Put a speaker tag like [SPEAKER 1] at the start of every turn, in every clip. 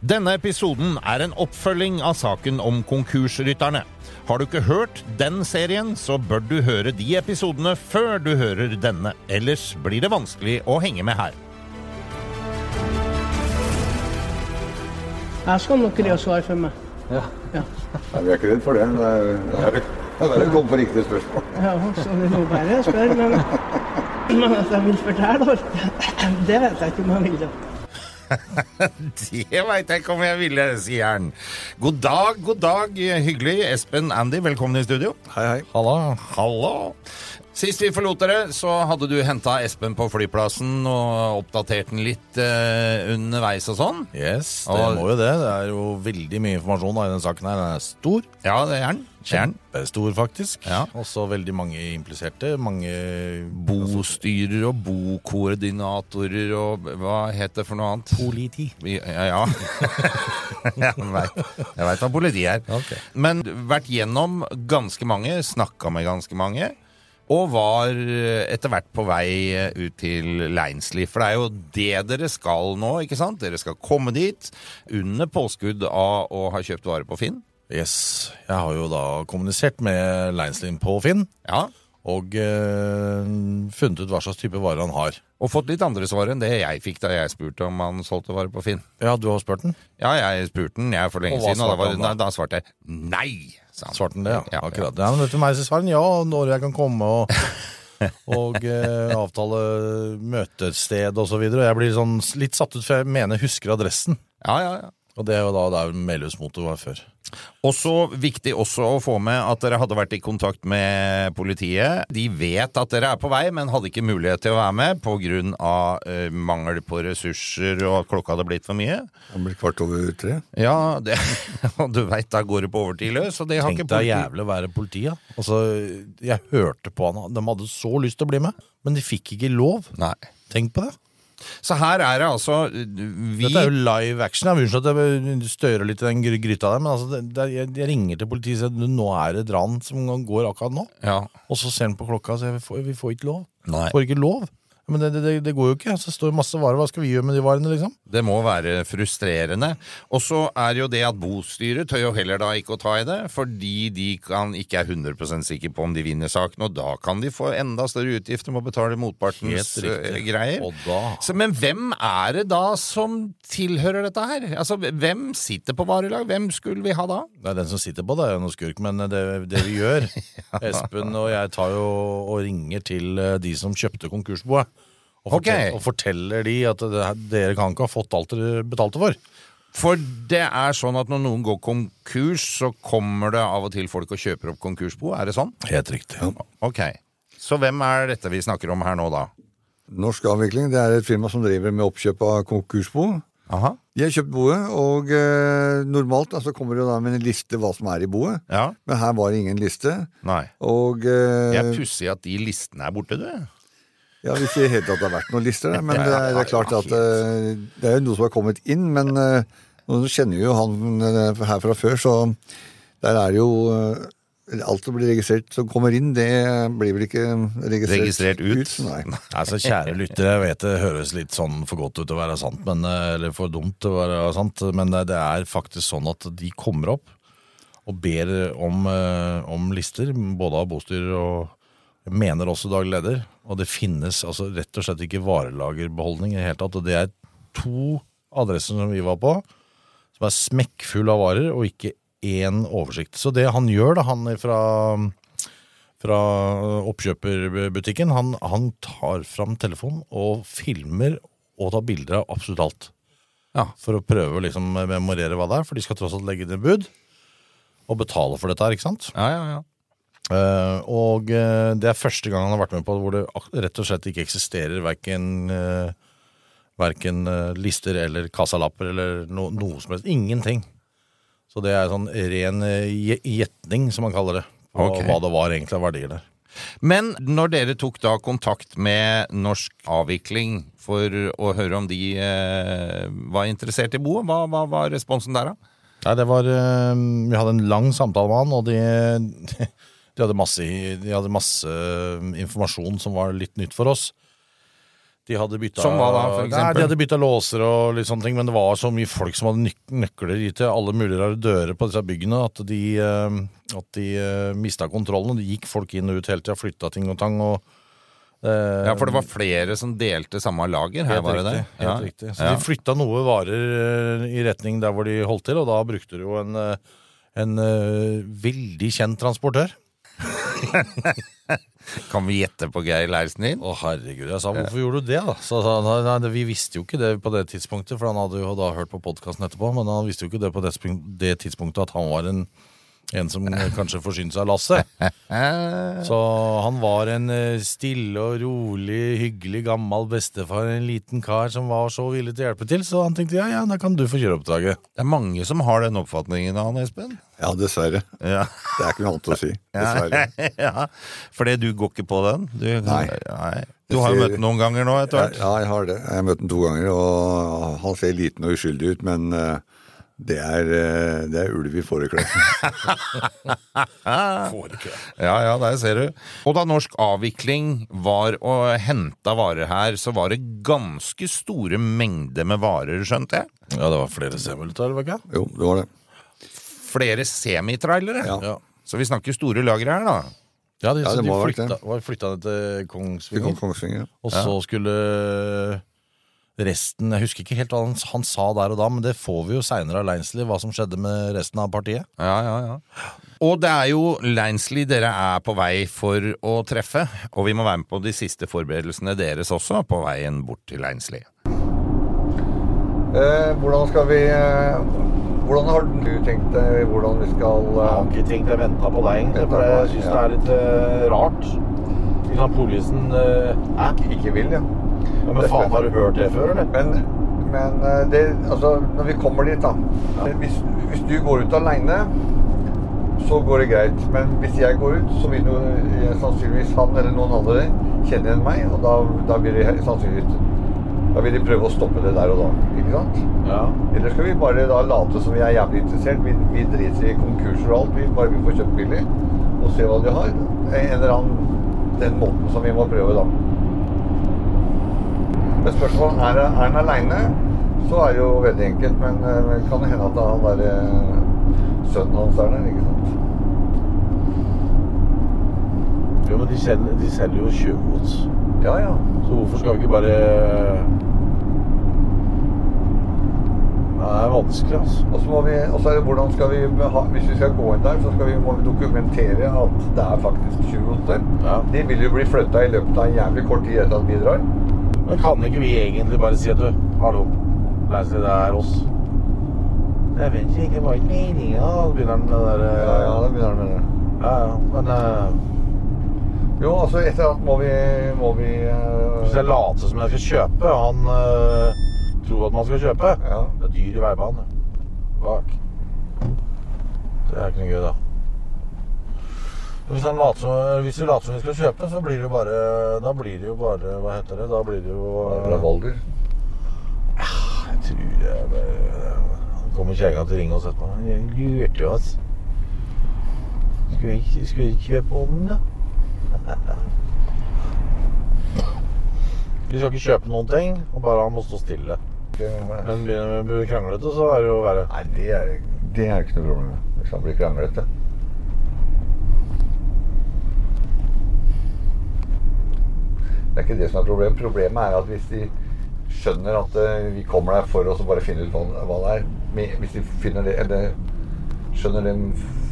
[SPEAKER 1] Denne episoden er en oppfølging av saken om konkursrytterne. Har du ikke hørt den serien, så bør du høre de episodene før du hører denne. Ellers blir det vanskelig å henge med her.
[SPEAKER 2] Her skal nok greie å svare for meg.
[SPEAKER 3] Nei, vi er ikke redd for det. Det er, det er, det er å komme på riktige spørsmål.
[SPEAKER 2] Ja, så du må bare spørre, men, men at jeg vil fortelle alt, det vet jeg ikke om jeg vil. da.
[SPEAKER 1] Det veit jeg ikke om jeg ville, sier han. God dag, god dag. Hyggelig. Espen, Andy, velkommen i studio.
[SPEAKER 3] Hei, hei.
[SPEAKER 1] Hallo. Hallo. Sist vi forlot dere, så hadde du henta Espen på flyplassen og oppdatert den litt eh, underveis og sånn.
[SPEAKER 4] Yes, det
[SPEAKER 1] Og-
[SPEAKER 4] må jo det. Det er jo veldig mye informasjon da, i den saken her. Den er stor.
[SPEAKER 1] Ja, det er den. Det er den.
[SPEAKER 4] Kjempestor, faktisk.
[SPEAKER 1] Ja.
[SPEAKER 4] Også veldig mange impliserte. Mange
[SPEAKER 1] Bostyrer og bokoordinatorer og hva heter det for noe annet?
[SPEAKER 4] Politi.
[SPEAKER 1] Vi- Ja, ja. jeg veit jeg vet hva politiet er.
[SPEAKER 4] Ok.
[SPEAKER 1] Men vært gjennom ganske mange, snakka med ganske mange, og var eh, etter hvert på vei eh, ut til Leinsli. For det er jo det dere skal nå, ikke sant? Dere skal komme dit under påskudd av å ha kjøpt varer på Finn.
[SPEAKER 4] Yes. Jeg har jo da kommunisert med Leinslin på Finn
[SPEAKER 1] Ja,
[SPEAKER 4] og eh, funnet ut hva slags type varer han har.
[SPEAKER 1] og fått litt andre svar enn det jeg fikk da jeg spurte om han solgte varer på Finn.
[SPEAKER 4] Ja, du har spurt den?
[SPEAKER 1] Ja, jeg spurte den jeg for lenge
[SPEAKER 4] Og hva
[SPEAKER 1] siden, og da,
[SPEAKER 4] svarte
[SPEAKER 1] var,
[SPEAKER 4] han
[SPEAKER 1] da?
[SPEAKER 4] da?
[SPEAKER 1] da svarte jeg nei. sa han.
[SPEAKER 4] Svarte han det, ja.
[SPEAKER 1] Ja,
[SPEAKER 4] Akkurat. Ja, men vet du meg, så svarer han ja, når jeg kan komme og, og eh, avtale møtested og så videre. Og jeg blir sånn litt satt ut, for jeg mener jeg husker adressen.
[SPEAKER 1] Ja, ja, ja.
[SPEAKER 4] Og det er jo da der Melhus Motor var før.
[SPEAKER 1] Også viktig også å få med at dere hadde vært i kontakt med politiet. De vet at dere er på vei, men hadde ikke mulighet til å være med pga. Uh, mangel på ressurser og at klokka hadde blitt for mye.
[SPEAKER 3] Han blir kvart over tre.
[SPEAKER 1] Ja, det, og du veit, da går det på overtid løs, og det har
[SPEAKER 4] Tenk
[SPEAKER 1] ikke
[SPEAKER 4] deg
[SPEAKER 1] politiet
[SPEAKER 4] jævlig å være politi, da. Altså, jeg hørte på han, de hadde så lyst til å bli med, men de fikk ikke lov.
[SPEAKER 1] Nei.
[SPEAKER 4] Tenk på det.
[SPEAKER 1] Så her er det altså uh, vi
[SPEAKER 4] Dette er jo live action. Jeg unnskyld at jeg stører litt i den gry- gryta der, men altså, det, det, jeg, jeg ringer til politiet og sier at nå er det et ran som går akkurat nå.
[SPEAKER 1] ja.
[SPEAKER 4] Og så ser han på klokka og sier vi får, vi får ikke lov.
[SPEAKER 1] Nei.
[SPEAKER 4] Får ikke lov. Men det, det- det, det går jo ikke. Så står det masse varer. Hva skal vi gjøre med de varene, liksom?
[SPEAKER 1] Det må være frustrerende. Og så er jo det at bostyret tør jo heller da ikke å ta i det, fordi de kan, ikke er 100 sikre på om de vinner saken, og da kan de få enda større utgifter med å betale motpartens
[SPEAKER 4] Helt riktig.
[SPEAKER 1] eh, greier.
[SPEAKER 4] Og da-
[SPEAKER 1] Så, men hvem er det da som tilhører dette her? Altså, hvem sitter på varelag? Hvem skulle vi ha da?
[SPEAKER 4] Nei, Den som sitter på det, er jo noe skurk, men det, det vi gjør Espen og jeg tar jo og ringer til eh, de som kjøpte konkursboet. Og,
[SPEAKER 1] Ok.
[SPEAKER 4] fortel- og forteller de at det, her- dere kan ikke ha fått alt dere betalte for.
[SPEAKER 1] For det er sånn at når noen går konkurs, så kommer det av og til folk og kjøper opp konkursbo. Er det sånn?
[SPEAKER 4] Helt riktig.
[SPEAKER 1] Ok. Så hvem er dette vi snakker om her nå, da?
[SPEAKER 3] Norsk Avvikling det er et firma som driver med oppkjøp av konkursbo.
[SPEAKER 1] Aha.
[SPEAKER 3] De har kjøpt boet, og eh, normalt da, så kommer det jo da med en liste hva som er i boet.
[SPEAKER 1] Ja.
[SPEAKER 3] Men her var det ingen liste.
[SPEAKER 1] Nei.
[SPEAKER 3] Og eh,
[SPEAKER 1] Det er pussig at de listene er borte, du.
[SPEAKER 3] ja, Hvis det i hele tatt har vært noen lister der. Men
[SPEAKER 1] Ja,
[SPEAKER 3] det er, det er klart
[SPEAKER 1] ja,
[SPEAKER 3] at eh, det er jo noe som har kommet inn. Men eh, nå kjenner vi jo han eh, her fra før, så der er jo eh, Alt som blir registrert som kommer inn, det blir vel ikke registrert,
[SPEAKER 1] Registrert ut?
[SPEAKER 3] Nei.
[SPEAKER 4] Altså, kjære lyttere, jeg vet det høres litt sånn for godt ut til å være sant, eh, men, eh, eller for dumt til å være sant, men det det er faktisk sånn at de kommer opp. og ber om, eh, om lister, både av bostyrer og jeg mener også daglig leder. Og det finnes altså, rett og slett ikke varelagerbeholdning i det hele tatt. Og det er to adresser som vi var på, som er smekkfull av varer, og ikke én oversikt. Så det han gjør, da, han fra, fra oppkjøperbutikken, han, han tar fram telefonen og filmer og tar bilder av absolutt alt.
[SPEAKER 1] Ja.
[SPEAKER 4] For å prøve å liksom memorere hva det er, for de skal tross alt legge ned bud. Og betale for dette her, ikke sant?
[SPEAKER 1] Ja, ja, ja.
[SPEAKER 4] Eh, og eh, det er første gang han har vært med på hvor det ak- rett og slett ikke eksisterer verken, eh, verken eh, lister eller kassalapper eller no, noe som helst. Ingenting. Så det er sånn ren eh, gje- gjetning, som man kaller det, på
[SPEAKER 1] Ok.
[SPEAKER 4] hva det var egentlig av verdier der.
[SPEAKER 1] Men når dere tok da kontakt med Norsk Avvikling for å høre om de eh, var interessert i boet, hva, hva var responsen der, da?
[SPEAKER 4] Nei, det var eh, Vi hadde en lang samtale med han, og de, de, hadde masse, de hadde masse eh, informasjon som var litt nytt for oss. De hadde bytta,
[SPEAKER 1] Som hva da, for
[SPEAKER 4] nei,
[SPEAKER 1] eksempel?
[SPEAKER 4] de hadde bytta låser og litt sånne ting, men det var så mye folk som hadde nyk- nøkler i til alle mulige rare dører på disse byggene at de, eh, at de eh, mista kontrollen. og Det gikk folk inn og ut hele tida, flytta ting og tang. og eh,
[SPEAKER 1] Ja, For det var flere som delte samme lager? Her,
[SPEAKER 4] Helt
[SPEAKER 1] var det det?
[SPEAKER 4] riktig.
[SPEAKER 1] Ja.
[SPEAKER 4] Helt riktig. Så
[SPEAKER 1] ja.
[SPEAKER 4] de flytta noe varer eh, i retning der hvor de holdt til, og da brukte du jo en, eh, en eh, veldig kjent transportør.
[SPEAKER 1] Kan vi gjette på Geir Leirsen din?
[SPEAKER 4] Å herregud, jeg sa hvorfor gjorde du det da? Så sa han, nei, nei, det- vi visste jo ikke det på det tidspunktet, for han hadde jo da hørt på podkasten etterpå, men han visste jo ikke det på det, spin- det tidspunktet at han var en, en som eh, kanskje forsynte seg av lasset.
[SPEAKER 1] Eh,
[SPEAKER 4] Så han var en eh, stille og rolig, hyggelig gammel bestefar, en liten kar som var så villig til å hjelpe til, så han tenkte ja, ja, da kan du få kjøre oppdraget.
[SPEAKER 1] det er mange som har den oppfatningen av han, Espen.
[SPEAKER 3] Ja, dessverre.
[SPEAKER 1] Ja.
[SPEAKER 3] Det er ikke noe annet å si. Dessverre.
[SPEAKER 1] ja. Fordi du går ikke på den? Du,
[SPEAKER 3] Nei.
[SPEAKER 1] Du har jo møtt
[SPEAKER 3] Det sier-
[SPEAKER 1] den noen ganger nå etter
[SPEAKER 3] Ja,
[SPEAKER 1] hvert.
[SPEAKER 3] ja, jeg har det. Jeg har møtt ham to ganger, og han ser liten og uskyldig ut, men eh, det er, eh, det er ulv i fåreklær.
[SPEAKER 1] Ja, ja, der ser du. Og da Norsk Avvikling var og henta varer her, så var det ganske store mengder med varer, skjønte jeg.
[SPEAKER 4] Ja, det var flere semmelter, var det ikke?
[SPEAKER 3] Jo, det var det.
[SPEAKER 1] Flere semitrailere.
[SPEAKER 3] Ja.
[SPEAKER 4] Ja.
[SPEAKER 1] Så vi snakker store lagre her, da.
[SPEAKER 4] Ja, de,
[SPEAKER 3] Ja,
[SPEAKER 4] så
[SPEAKER 3] det
[SPEAKER 4] de
[SPEAKER 3] må ha vært
[SPEAKER 4] flytta,
[SPEAKER 3] det.
[SPEAKER 4] var- flytta ned til
[SPEAKER 3] Til
[SPEAKER 4] Kongsvinger,
[SPEAKER 3] Kong- Kongsvinger. ja.
[SPEAKER 4] og så skulle resten Jeg husker ikke helt hva han, han sa der og da, men det får vi jo seinere av Leinsli, hva som skjedde med resten av partiet.
[SPEAKER 1] Ja, ja, ja. Og det er jo Leinsli dere er på vei for å treffe, og vi må være med på de siste forberedelsene deres også, på veien bort til Leinsli.
[SPEAKER 3] Eh, hvordan skal vi eh, Hvordan har du tenkt deg hvordan vi skal
[SPEAKER 5] Jeg har
[SPEAKER 3] eh,
[SPEAKER 5] ikke tenkt å vente på deg, egentlig, for jeg syns det er litt eh, rart. Liksom Politien eh, Hæ?
[SPEAKER 3] Ikke vil, ja.
[SPEAKER 5] Ja, men faen, har du hørt det før, eller?
[SPEAKER 3] Men, men eh, det, altså, når vi kommer dit, da hvis, hvis du går ut aleine, så går det greit. Men hvis jeg går ut, så vil jo eh, sannsynligvis han eller noen andre kjenne igjen meg, og da, da vil de he- sannsynligvis Da vil de prøve å stoppe det der og da. Ikke sant?
[SPEAKER 5] Ja.
[SPEAKER 3] Eller skal vi bare da late som vi er jævlig interessert? Vi, vi driter i konkurser og alt. Vi bare vil få kjøpt billig og se hva de har. En eller annen den måten som vi må prøve, da. Men spørsmålet er er han aleine, så er det jo veldig enkelt. Men eh, kan det hende at han der eh, sønnen hans er der, ikke sant?
[SPEAKER 5] Jo, men de selger, de selger jo tjuvgods.
[SPEAKER 3] Ja, ja.
[SPEAKER 5] Så hvorfor skal vi ikke bare Nei, Det er vanskelig, altså.
[SPEAKER 3] Og så må vi, og så er det hvordan skal vi ha, Hvis vi skal gå inn der, så skal vi, må vi dokumentere at det er faktisk 20 hos dem.
[SPEAKER 5] Ja.
[SPEAKER 3] De vil jo bli flytta i løpet av en jævlig kort tid etter at vi drar.
[SPEAKER 5] Men kan ikke vi egentlig bare si at du, hallo, Leinsli, det er oss? Jeg vet ikke, det var ikke meninga. Begynner han med det der eh,
[SPEAKER 3] Ja, ja, det begynner han med det.
[SPEAKER 5] ja, ja, men eh,
[SPEAKER 3] Jo, altså etter at må vi, må vi eh,
[SPEAKER 5] Hvis jeg later som jeg skal kjøpe, og han øh, tror at man skal kjøpe
[SPEAKER 3] Ja.
[SPEAKER 5] Det er dyr i veibanen. det. Bak. Det er ikke noe gøy, da. Hvis, han later som, hvis vi later som vi skal kjøpe, så blir det jo bare Da blir det jo bare Hva heter det? Da blir det jo øh,
[SPEAKER 3] Revolver.
[SPEAKER 5] Jeg tror jeg bare Han kommer kjerringa til å ringe oss etterpå. Jeg lurte jo oss. Skulle vi ikke, skulle vi ikke kjøpe ovnen, da? Vi skal ikke kjøpe noen ting, og bare han må stå stille.
[SPEAKER 3] Det-
[SPEAKER 5] Men begynner vi å bli kranglete, så er det jo verre.
[SPEAKER 3] Nei, det er det er ikke noe problem.
[SPEAKER 5] Hvis han blir kranglete. Det er ikke det som er problemet. Problemet er at hvis de skjønner at eh, vi kommer der for oss og bare finner ut hva, hva det er med- Hvis de finner det, eller skjønner det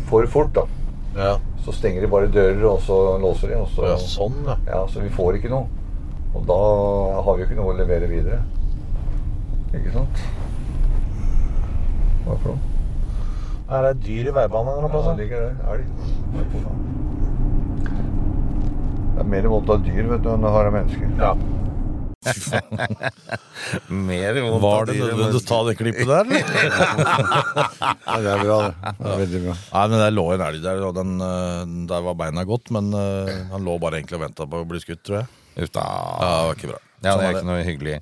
[SPEAKER 5] for fort, da,
[SPEAKER 6] Ja.
[SPEAKER 5] så stenger de bare dører, og så låser de, og så
[SPEAKER 6] ja, sånn, ja.
[SPEAKER 5] ja, så vi får ikke noe. Og da har vi jo ikke noe å levere videre. Ikke sant? Hva for noe?
[SPEAKER 6] Er det dyr i veibanen eller noe
[SPEAKER 5] Ja, det
[SPEAKER 6] plass? da?
[SPEAKER 5] ligger der. Elg. Nei, for faen. Det er mer vondt av dyr vet du, enn det har av mennesker.
[SPEAKER 6] Ja.
[SPEAKER 1] Mer vondt av
[SPEAKER 4] Var det
[SPEAKER 1] dyr enn
[SPEAKER 4] nødvendig å ta det klippet der, eller?
[SPEAKER 3] Ja, det er bra, det. det er veldig bra.
[SPEAKER 4] Nei, men der lå en elg der, og den, eh, der var beina godt, men eh, han lå bare egentlig og venta på å bli skutt, tror jeg.
[SPEAKER 1] Uff da.
[SPEAKER 4] Ja, det var ikke bra.
[SPEAKER 1] Ja, det
[SPEAKER 4] Sånn
[SPEAKER 1] er
[SPEAKER 4] er det.
[SPEAKER 1] ikke noe hyggelig.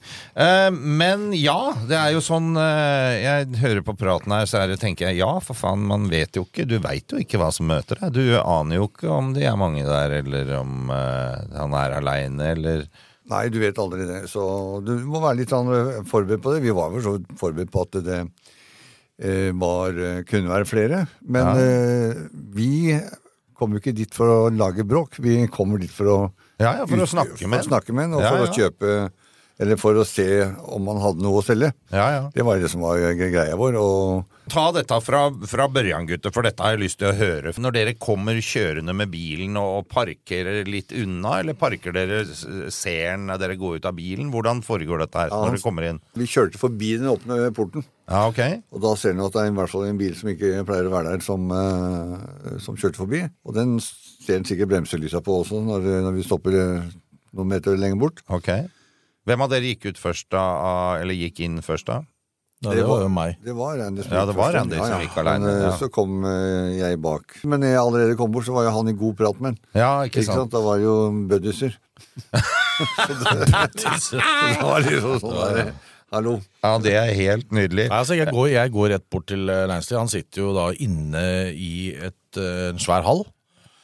[SPEAKER 1] Eh, men ja, det er jo sånn eh, Jeg hører på praten her, så er det, tenker jeg ja, for faen, man vet jo ikke. Du veit jo ikke hva som møter deg. Du aner jo ikke om de er mange der, eller om eh, han er aleine, eller
[SPEAKER 3] Nei, du vet aldri det. Så du må være litt sånn forberedt på det. Vi var vel så vidt forberedt på at det eh, var, kunne være flere. Men eh, vi kom jo ikke dit for å lage bråk. Vi kommer dit for å,
[SPEAKER 1] Ja, ja, for å
[SPEAKER 3] ut-
[SPEAKER 1] snakke med
[SPEAKER 3] for å snakke med en, og
[SPEAKER 1] Ja,
[SPEAKER 3] for
[SPEAKER 1] ja.
[SPEAKER 3] å kjøpe Eller for å se om man hadde noe å selge.
[SPEAKER 1] Ja, ja.
[SPEAKER 3] Det var det som var gre- greia vår. Og
[SPEAKER 1] Ta dette fra, fra børjan, gutter, for dette har jeg lyst til å høre. Når dere kommer kjørende med bilen og og parkerer litt unna, eller parker dere s- ser den når dere går ut av bilen, hvordan foregår dette her når dere kommer inn?
[SPEAKER 3] vi kjørte forbi den åpne porten.
[SPEAKER 1] Ja, ok.
[SPEAKER 3] Og da ser han jo at det er i hvert fall en bil som ikke pleier å være der, som, eh, som kjørte forbi. Og den ser han sikkert bremselysa på også, når, når vi stopper eh, noen meter lenger bort.
[SPEAKER 1] Ok. Hvem av dere gikk ut først da, av- eller gikk inn først da?
[SPEAKER 4] Nei, det var jo meg.
[SPEAKER 3] Det var Randy som
[SPEAKER 1] Ja,
[SPEAKER 3] gikk
[SPEAKER 1] det var
[SPEAKER 3] først,
[SPEAKER 1] Randy som gikk alene,
[SPEAKER 3] Men, eh,
[SPEAKER 1] ja.
[SPEAKER 3] Så kom eh, jeg bak. Men når jeg allerede kom bort, så var jo han i god prat med han.
[SPEAKER 1] Ja,
[SPEAKER 3] Ikke sant? Da var det jo buddiser. Så det var liksom sånn der, Hallo.
[SPEAKER 1] Ja, det er helt nydelig.
[SPEAKER 4] Nei, altså, jeg, går, jeg går rett bort til eh, Leinstad. Han sitter jo da inne i et, eh, en svær hall.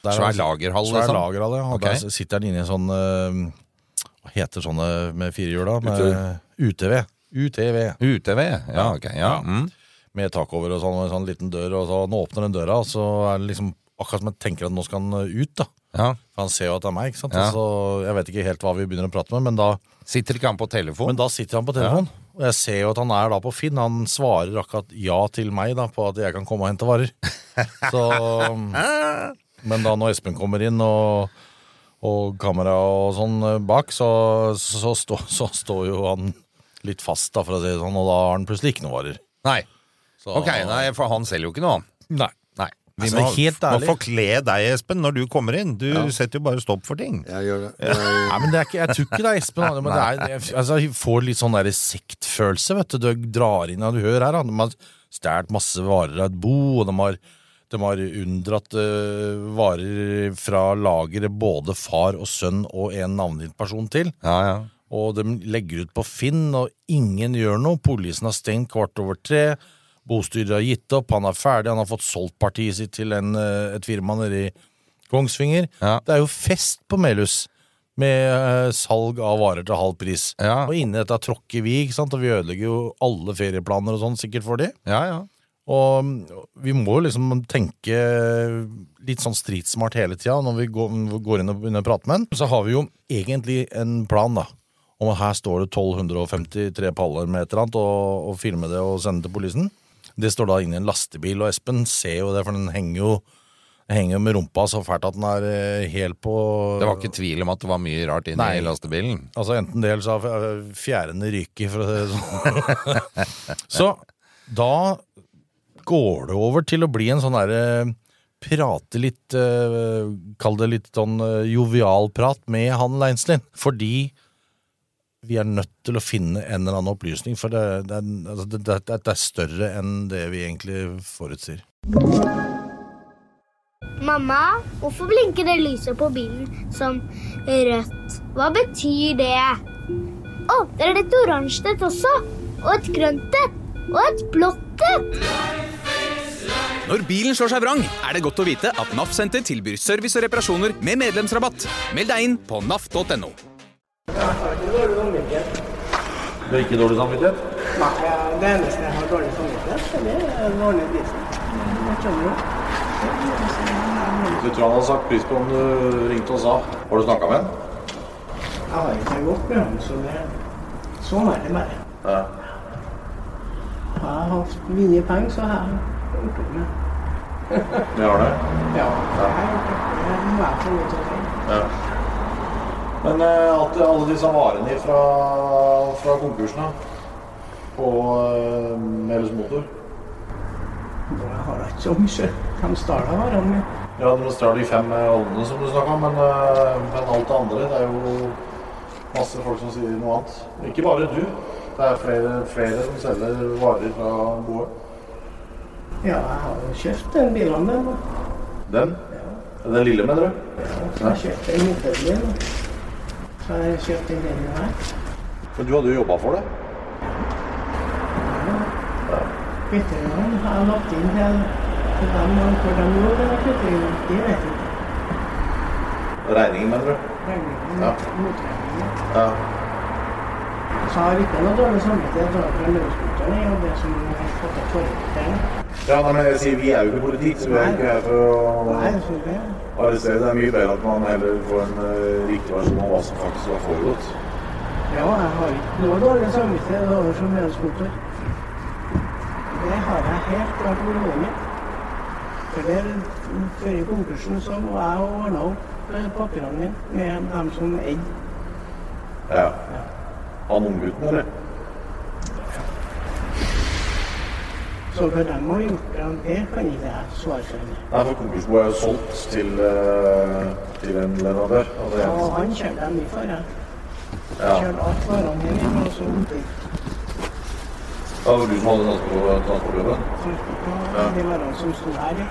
[SPEAKER 4] Der er-
[SPEAKER 1] Svær lagerhall,
[SPEAKER 4] Svær
[SPEAKER 1] liksom?
[SPEAKER 4] lagerhall, ja. Og
[SPEAKER 1] Ok.
[SPEAKER 4] Der sitter han inne i en sånn eh, Hva heter sånne med fire hjul, da? Med- UTV. UTV.
[SPEAKER 1] UTV, ja, ok. Ja, mm.
[SPEAKER 4] Med tak over og sånn, og en sånn liten dør. Og så nå åpner den døra, og så er det liksom akkurat som jeg tenker at nå skal han eh, ut, da.
[SPEAKER 1] ja.
[SPEAKER 4] For han ser jo at det er meg, ikke sant.
[SPEAKER 1] Ja.
[SPEAKER 4] Og så, jeg vet ikke helt hva vi begynner å prate med, men da
[SPEAKER 1] Sitter ikke han på telefon?
[SPEAKER 4] men da sitter han på telefonen, og jeg ser jo at han er da på Finn. Han svarer akkurat ja til meg da, på at jeg kan komme og hente varer. Så, mm, men da når Espen kommer inn og, og kamera og sånn eh, bak, så, så, stå, så står jo han litt fast, da, for å si det sånn, og da har han plutselig ikke noen varer.
[SPEAKER 1] Nei.
[SPEAKER 4] Så,
[SPEAKER 1] Ok, nei, for han selger jo ikke noe, han.
[SPEAKER 4] Nei.
[SPEAKER 1] Nei. Vi
[SPEAKER 4] Altså,
[SPEAKER 1] må,
[SPEAKER 4] helt
[SPEAKER 1] må
[SPEAKER 4] ærlig.
[SPEAKER 1] forkle deg, Espen, når du kommer inn. Du setter jo bare stopp for ting.
[SPEAKER 3] Jeg gjør det. Jeg,
[SPEAKER 4] Nei, men det er ikke, Jeg tror ikke det er Espen. da, Men det er, jeg, altså, jeg får litt sånn der sektfølelse. vet Du Du drar inn og du hører her. da, De har stjålet masse varer av et bo, og de har, de har unndratt øh, varer fra lageret både far og sønn og en navngitt person til.
[SPEAKER 1] Ja, ja.
[SPEAKER 4] Og de legger ut på Finn, og ingen gjør noe. Politien har stengt kvart over tre. Bostyret har gitt opp, han er ferdig, han har fått solgt partiet sitt til en, eh, et firma nede i Kongsvinger.
[SPEAKER 1] Ja.
[SPEAKER 4] Det er jo fest på Melhus med eh, salg av varer til halv pris.
[SPEAKER 1] Ja.
[SPEAKER 4] Og inni dette tråkker vi, ikke sant? og vi ødelegger jo alle ferieplaner og sånn sikkert for de.
[SPEAKER 1] Ja, ja.
[SPEAKER 4] Og mm, vi må jo liksom tenke litt sånn stridsmart hele tida når vi går, går inn og begynner å prate med en. Så har vi jo egentlig en plan, da. Om at her står det 1253 paller med et eller annet, og, og filme det og sende det til politiet. Det står da inni en lastebil, og Espen ser jo det, for den henger jo, den henger jo med rumpa så fælt at den er eh, helt på
[SPEAKER 1] Det var ikke tvil om at det var mye rart inne
[SPEAKER 4] Nei.
[SPEAKER 1] i lastebilen.
[SPEAKER 4] Altså enten det, eller så har f- fjærene ryket, for å si det sånn. så da går det over til å bli en sånn derre Prate litt eh, Kall det litt sånn eh, jovial prat med han Leinslin. Fordi vi er nødt til å finne en eller annen opplysning, for det, det, er, altså, det, det, det er større enn det vi egentlig forutsier.
[SPEAKER 7] Mamma, hvorfor blinker det lyset på bilen som rødt? Hva betyr det? Å, det er et oransje et også. Og et grønt et. Og et blått et.
[SPEAKER 8] Når bilen slår seg vrang, er det godt å vite at NAF Senter tilbyr service og reparasjoner med medlemsrabatt. Meld deg inn på naf.no.
[SPEAKER 6] Det er ikke dårlig samvittighet?
[SPEAKER 2] Nei, det eneste jeg har dårlig samvittighet for, det er den ordentlige prisen. Skjønner du?
[SPEAKER 6] Du tror han hadde satt pris på om du ringte og sa? Har du snakka med han?
[SPEAKER 2] Jeg har ikke noe godt med ham, så det Sånn er det bare.
[SPEAKER 6] Ja.
[SPEAKER 2] Har jeg hatt mye penger, så har jeg gjort opp med
[SPEAKER 6] Vi har det?
[SPEAKER 2] Ja, det har jeg gjort opp med. Det må jeg få lov til å si.
[SPEAKER 6] Ja. Men eh, at alle disse varene fra, fra konkursen da, og eh, Meles Motor
[SPEAKER 2] Jeg har da ikke så mye. De stjal varene mine.
[SPEAKER 6] Ja, dere stjal de fem eh, ovnene som du snakka om, men, eh, men alt det andre Det er jo masse folk som sier noe annet. Ikke bare du. Det er flere, flere som selger varer fra gården.
[SPEAKER 2] Ja, jeg har jo kjøpt den bilen min. da.
[SPEAKER 6] Den? Den lille, mener du?
[SPEAKER 2] Så jeg kjøpte en moped min. da. Så jeg kjøpte den bilen her.
[SPEAKER 6] For du hadde jo jobba for det.
[SPEAKER 2] Kvitteringen har jeg lagt inn til til dem og for dem nå. Den kvitteringen, de vet ikke.
[SPEAKER 6] Regningen, mener du?
[SPEAKER 2] Regningen,
[SPEAKER 6] Ja.
[SPEAKER 2] motregningen.
[SPEAKER 6] Ja.
[SPEAKER 2] Så jeg har ikke noe dårlig samvittighet overfor lønnsmottagerne og det som jeg har fått av forretningen.
[SPEAKER 6] ja, nei, men jeg sier vi er jo ikke politikk, så vi er ikke her for å
[SPEAKER 2] Nei, så det
[SPEAKER 6] arrestere. Det er mye bedre at man heller får en eh, riktig versjon av hva som faktisk har foregått.
[SPEAKER 2] Ja, jeg har ikke noe dårlig samvittighet overfor medskoter. Det har jeg helt klart i hodet mitt. For det, før i konkursen så var jeg og ordna opp eh, papirene mine med dem som eide.
[SPEAKER 6] Ja. Han unggutten, eller?
[SPEAKER 2] Så for dem å ha gjort det, det kan ikke jeg svare for.
[SPEAKER 6] Nei, for konkursbo er jo solgt til, eh, til en leverandør. og det-
[SPEAKER 2] Og han kjørte dem mye for, jeg.
[SPEAKER 6] Ja.
[SPEAKER 2] Kjørte alt varene mine og så omtrent
[SPEAKER 6] Ja, det var du som hadde transport- transportjobben?
[SPEAKER 2] på de varene som sto her.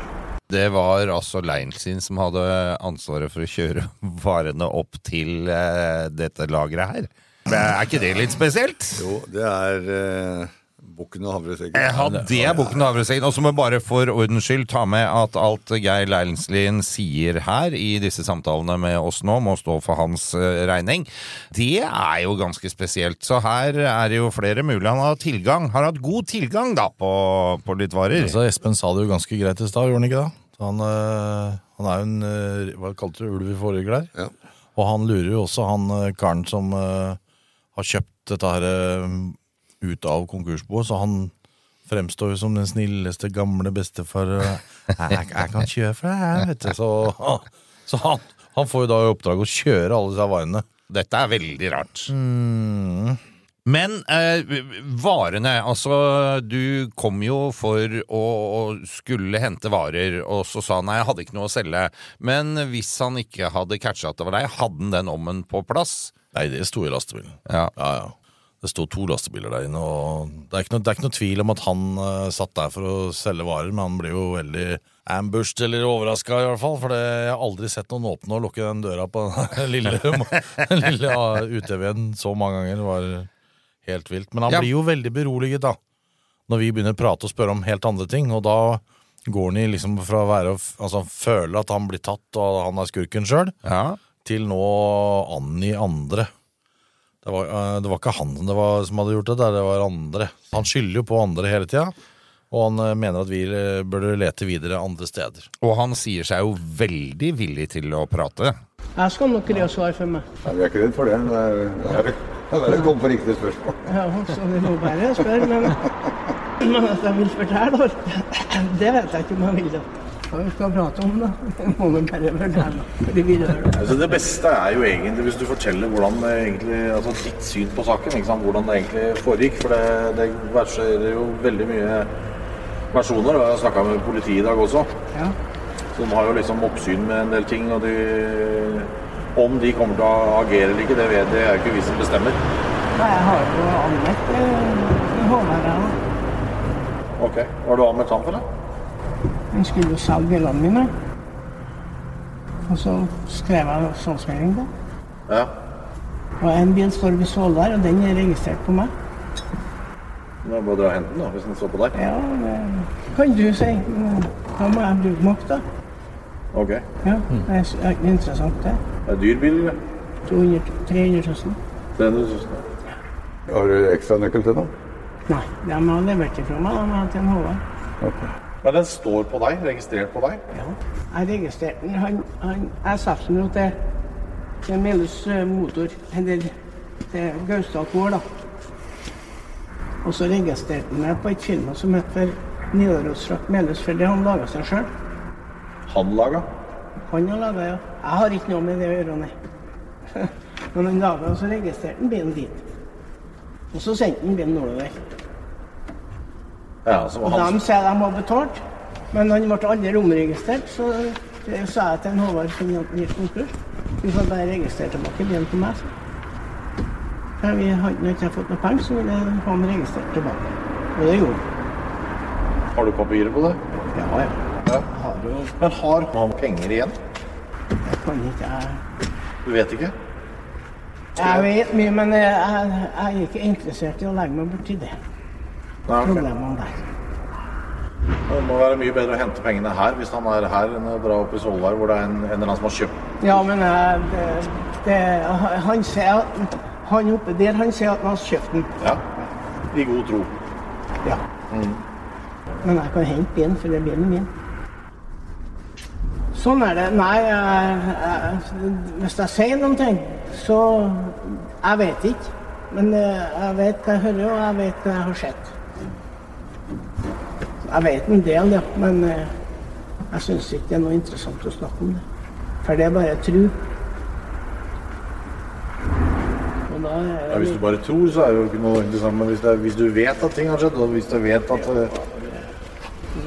[SPEAKER 1] Det var altså Leinsin som hadde ansvaret for å kjøre varene opp til eh, dette lageret her. Men Er ikke det litt spesielt?
[SPEAKER 3] Jo, det er eh, bukken og havresekken.
[SPEAKER 1] Ja, Eh, det er bukken og havresekken. Og så må jeg bare for ordens skyld ta med at alt Geir Leilenslien sier her i disse samtalene med oss nå, må stå for hans eh, regning. Det er jo ganske spesielt. Så her er det jo flere mulig. Han har tilgang, har hatt god tilgang da på, på litt varer.
[SPEAKER 4] Altså, Espen sa det jo ganske greit i stad, gjorde han ikke det? Så Han, øh, han er jo en øh, Hva kalte du ulv i forrige der? Og han lurer jo også han øh, karen som øh, har kjøpt dette her øh, ut av konkursboet, så han fremstår jo som den snilleste gamle bestefar. øh, Jeg, jeg, jeg kan kjøre for deg, jeg, vet du. Så, så han, han får jo da i oppdrag å kjøre alle disse varene.
[SPEAKER 1] Dette er veldig rart.
[SPEAKER 4] Mm.
[SPEAKER 1] Men eh, varene, altså du kom jo for å, å skulle hente varer, og så sa han nei, jeg hadde ikke noe å selge. Men hvis han ikke hadde catcha at det var deg, hadde han den ommen på plass?
[SPEAKER 4] Nei, det sto i lastebilen.
[SPEAKER 1] Ja.
[SPEAKER 4] Ja, ja. Det sto to lastebiler der inne, og det er ikke noe, det er ikke noe tvil om at han eh, satt der for å selge varer, men han blir jo veldig ambushed eller overraska, i hvert fall. For det, jeg har aldri sett noen åpne og lukke den døra på den lille, den lille ja, UTV-en så mange ganger. Det var helt vilt. Men han
[SPEAKER 1] Ja.
[SPEAKER 4] blir jo veldig beroliget, da. Når vi begynner å prate og spørre om helt andre ting, og da går han i liksom fra å være å f- altså, føle at han blir tatt og han er skurken sjøl, til nå å angi andre. Det var, eh, det var ikke han det var, som hadde gjort det, der, det var andre. Han skylder jo på andre hele tida, og han eh, mener at vi eh, burde lete videre andre steder.
[SPEAKER 1] Og han sier seg jo veldig villig til å prate.
[SPEAKER 2] Jeg skal nok greie å svare for meg.
[SPEAKER 5] Nei, vi er ikke redd for det. Det er, det er, det er å komme på riktig spørsmål.
[SPEAKER 2] Ja, så vi må bare spørre, men, men at jeg vil fortelle alt, det vet jeg ikke om jeg vil. da. Hva vi skal prate om, da? Vi må vel bare fortelle. Fordi vi rører oss.
[SPEAKER 6] Altså, det beste er jo egentlig hvis du forteller hvordan det egentlig, altså ditt syn på saken. Ikke sant? Hvordan det egentlig foregikk. For det, det verserer jo veldig mye versjoner. Og jeg har snakka med politiet i dag også.
[SPEAKER 2] Ja.
[SPEAKER 6] Så de har jo liksom oppsyn med en del ting. Og de, om de kommer til å agere eller ikke, det vet det er jo ikke vi som bestemmer.
[SPEAKER 2] Nei, jeg har jo anmeldt eh, Håvard. jeg også.
[SPEAKER 6] Ok, Har du anmeldt ham for det?
[SPEAKER 2] Han skulle jo selge bilene mine. Og så skrev jeg salgsmelding på.
[SPEAKER 6] Ja.
[SPEAKER 2] Og en bil står ved Svolvær, og den er registrert på meg.
[SPEAKER 6] Det er bare å dra og hente den da, hvis den står på deg.
[SPEAKER 2] Ja, det kan du si. men Da må jeg bruke makt, da.
[SPEAKER 6] Ok.
[SPEAKER 2] Ja, det er s- er ikke interessant, det.
[SPEAKER 6] Det er dyr bil, eller?
[SPEAKER 2] 200, 300 000.
[SPEAKER 6] 300 000.
[SPEAKER 5] Har du ekstra nøkkel til den?
[SPEAKER 2] Nei, de har levert det fra meg. De har til en Håvard.
[SPEAKER 5] Ok.
[SPEAKER 6] Men den står på deg, registrert på deg.
[SPEAKER 2] Jeg registrerte den. Han, han, jeg solgte den jo til, til Melhus eh, Motor, eller til Gausdal Gård, da. Og så registrerte han meg på et firma som heter Nidarosfrakt Melhus, for det har han laga seg sjøl.
[SPEAKER 6] Han laga.
[SPEAKER 2] Han har laga, ja. Jeg har ikke noe med det å gjøre, nei. Men han laga, og så registrerte han bilen dit. Og så sendte han bilen nordover.
[SPEAKER 6] Ja, så
[SPEAKER 2] Og
[SPEAKER 6] var han
[SPEAKER 2] de sier de har betalt, men han ble aldri omregistrert. Så det sa jeg til en Håvard som hjalp meg i konkurs. Du får bare registrere tilbake bilen til meg. sa jeg. For vi hadde når jeg ikke fått noe penger, så ville jeg ha den registrert tilbake. Og det gjorde han.
[SPEAKER 6] Har du papirer på det?
[SPEAKER 2] Ja, ja.
[SPEAKER 6] Har du... Men har han penger igjen?
[SPEAKER 2] Jeg kan ikke jeg.
[SPEAKER 6] Du vet ikke?
[SPEAKER 2] Jeg vet mye, men jeg, jeg, jeg er ikke interessert i å legge meg borti det.
[SPEAKER 6] Nei, ok.
[SPEAKER 2] Problemene der.
[SPEAKER 6] Det må være mye bedre å hente pengene her hvis han er her, enn å dra opp i Svolvær hvor det er en, en eller annen som har kjøpt.
[SPEAKER 2] Ja, men eh, det, det, han sier at han oppe der han sier at han har kjøpt den.
[SPEAKER 6] Ja. I god tro.
[SPEAKER 2] Ja. Men jeg kan hente bilen, for det er bilen min. Sånn er det. Nei, jeg, jeg, hvis jeg sier noen ting, så Jeg vet ikke. Men eh, jeg vet hva jeg hører, og jeg vet hva jeg har sett. Jeg vet en del, ja, men eh, jeg syns ikke det er noe interessant å snakke om det. For det er bare tru. Og da er
[SPEAKER 6] Ja,
[SPEAKER 2] det
[SPEAKER 6] hvis du bare tror, så er det jo ikke noe interessant. Men hvis, det er, hvis du vet at ting har skjedd, og hvis du vet at eh,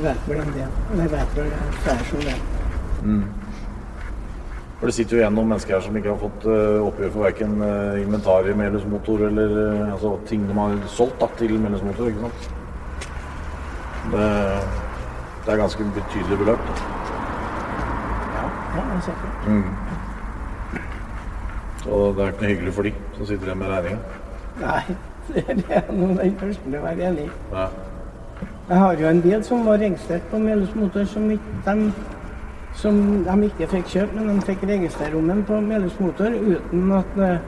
[SPEAKER 2] vet vel en del. Jeg vet vel det er flere som vet.
[SPEAKER 6] For det sitter jo igjen noen mennesker her som ikke har fått eh, oppgjør for verken uh, inventariet med Melhus Motor eller eh, altså, ting de har solgt da, til Melhus Motor, ikke sant? Det, det er ganske betydelig beløp. Da.
[SPEAKER 2] Ja, jeg ser det.
[SPEAKER 6] Så det er ikke noe hyggelig for de som sitter igjen med regninga.
[SPEAKER 2] Nei, det er noe den første å være enig i.
[SPEAKER 6] Ja.
[SPEAKER 2] Jeg har jo en bil som var registrert på Melhus Motor, som, ikke, dem- som de ikke fikk kjøpt, men de fikk registrere om den på Melhus Motor uten at eh,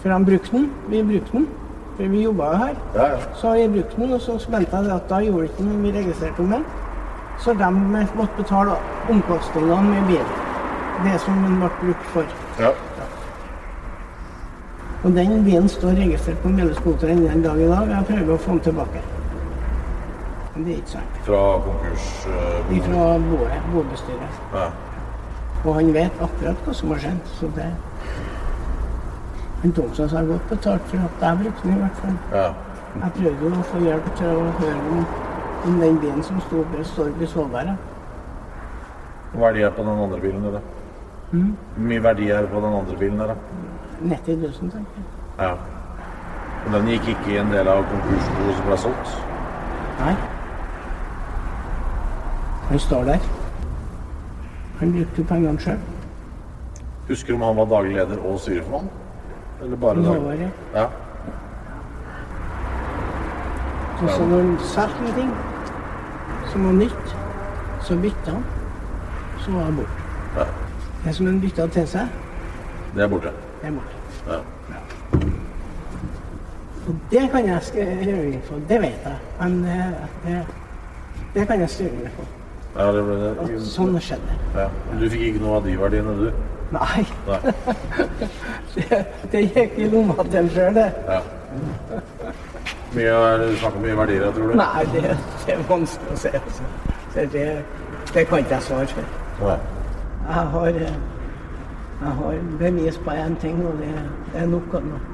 [SPEAKER 2] For de brukte den. Vi brukte den. For vi jobba jo her.
[SPEAKER 6] Ja, ja.
[SPEAKER 2] Så jeg brukte den, og så mente jeg det at da gjorde ikke den, vi registrerte om den. Så de måtte betale omkostningene med bilen. Det som den ble brukt for.
[SPEAKER 6] Ja.
[SPEAKER 2] Og den bilen står registrert på Melhus Motor ennå den dag i dag. Jeg prøver å få den tilbake. Men det er ikke sånn. så enkelt.
[SPEAKER 6] Fra konkurs... eh,
[SPEAKER 2] Ifra boet, bobestyret.
[SPEAKER 6] ja.
[SPEAKER 2] Og han vet akkurat hva som har skjedd, så det Han Thomsens har godt betalt for at jeg brukte den, i hvert fall.
[SPEAKER 6] ja.
[SPEAKER 2] Jeg prøvde jo å få hjelp til å høre om, om den bilen som sto ved Storby Svolvær.
[SPEAKER 6] Hva verdi er på den andre bilen, dere? Hvor mye verdi er det på den andre bilen, dere?
[SPEAKER 2] 90 000, tenker jeg.
[SPEAKER 6] Ja. Og den gikk ikke i en del av konkursboet som ble solgt?
[SPEAKER 2] Nei. Han står der. Han brukte pengene sjøl.
[SPEAKER 6] Husker du om han var daglig leder og styreformann? Eller bare daglig?
[SPEAKER 2] Nåværende.
[SPEAKER 6] Ja.
[SPEAKER 2] Og så når han solgte noe ting som var nytt, så bytta han. Så var han borte.
[SPEAKER 6] Ja.
[SPEAKER 2] Det som han bytta til seg,
[SPEAKER 6] Det er borte.
[SPEAKER 2] det er borte.
[SPEAKER 6] Ja.
[SPEAKER 2] Og det kan jeg skrive under på, det vet jeg. Men eh, det, det kan jeg skrive under på.
[SPEAKER 6] ja det ble det.
[SPEAKER 2] At sånn skjedde.
[SPEAKER 6] Ja. Du fikk ikke noe av de verdiene, du?
[SPEAKER 2] Nei,
[SPEAKER 6] Nei.
[SPEAKER 2] det, det gikk i lomma til ham sjøl, det.
[SPEAKER 6] Ja. Mye, er det snakk om mye verdier, jeg tror du?
[SPEAKER 2] Nei, det, det er vanskelig å si, altså. Det, det, det kan ikke jeg svare for.
[SPEAKER 6] Nei.
[SPEAKER 2] Jeg har, eh, jeg har bevis på én ting, og det, det er nok av noe.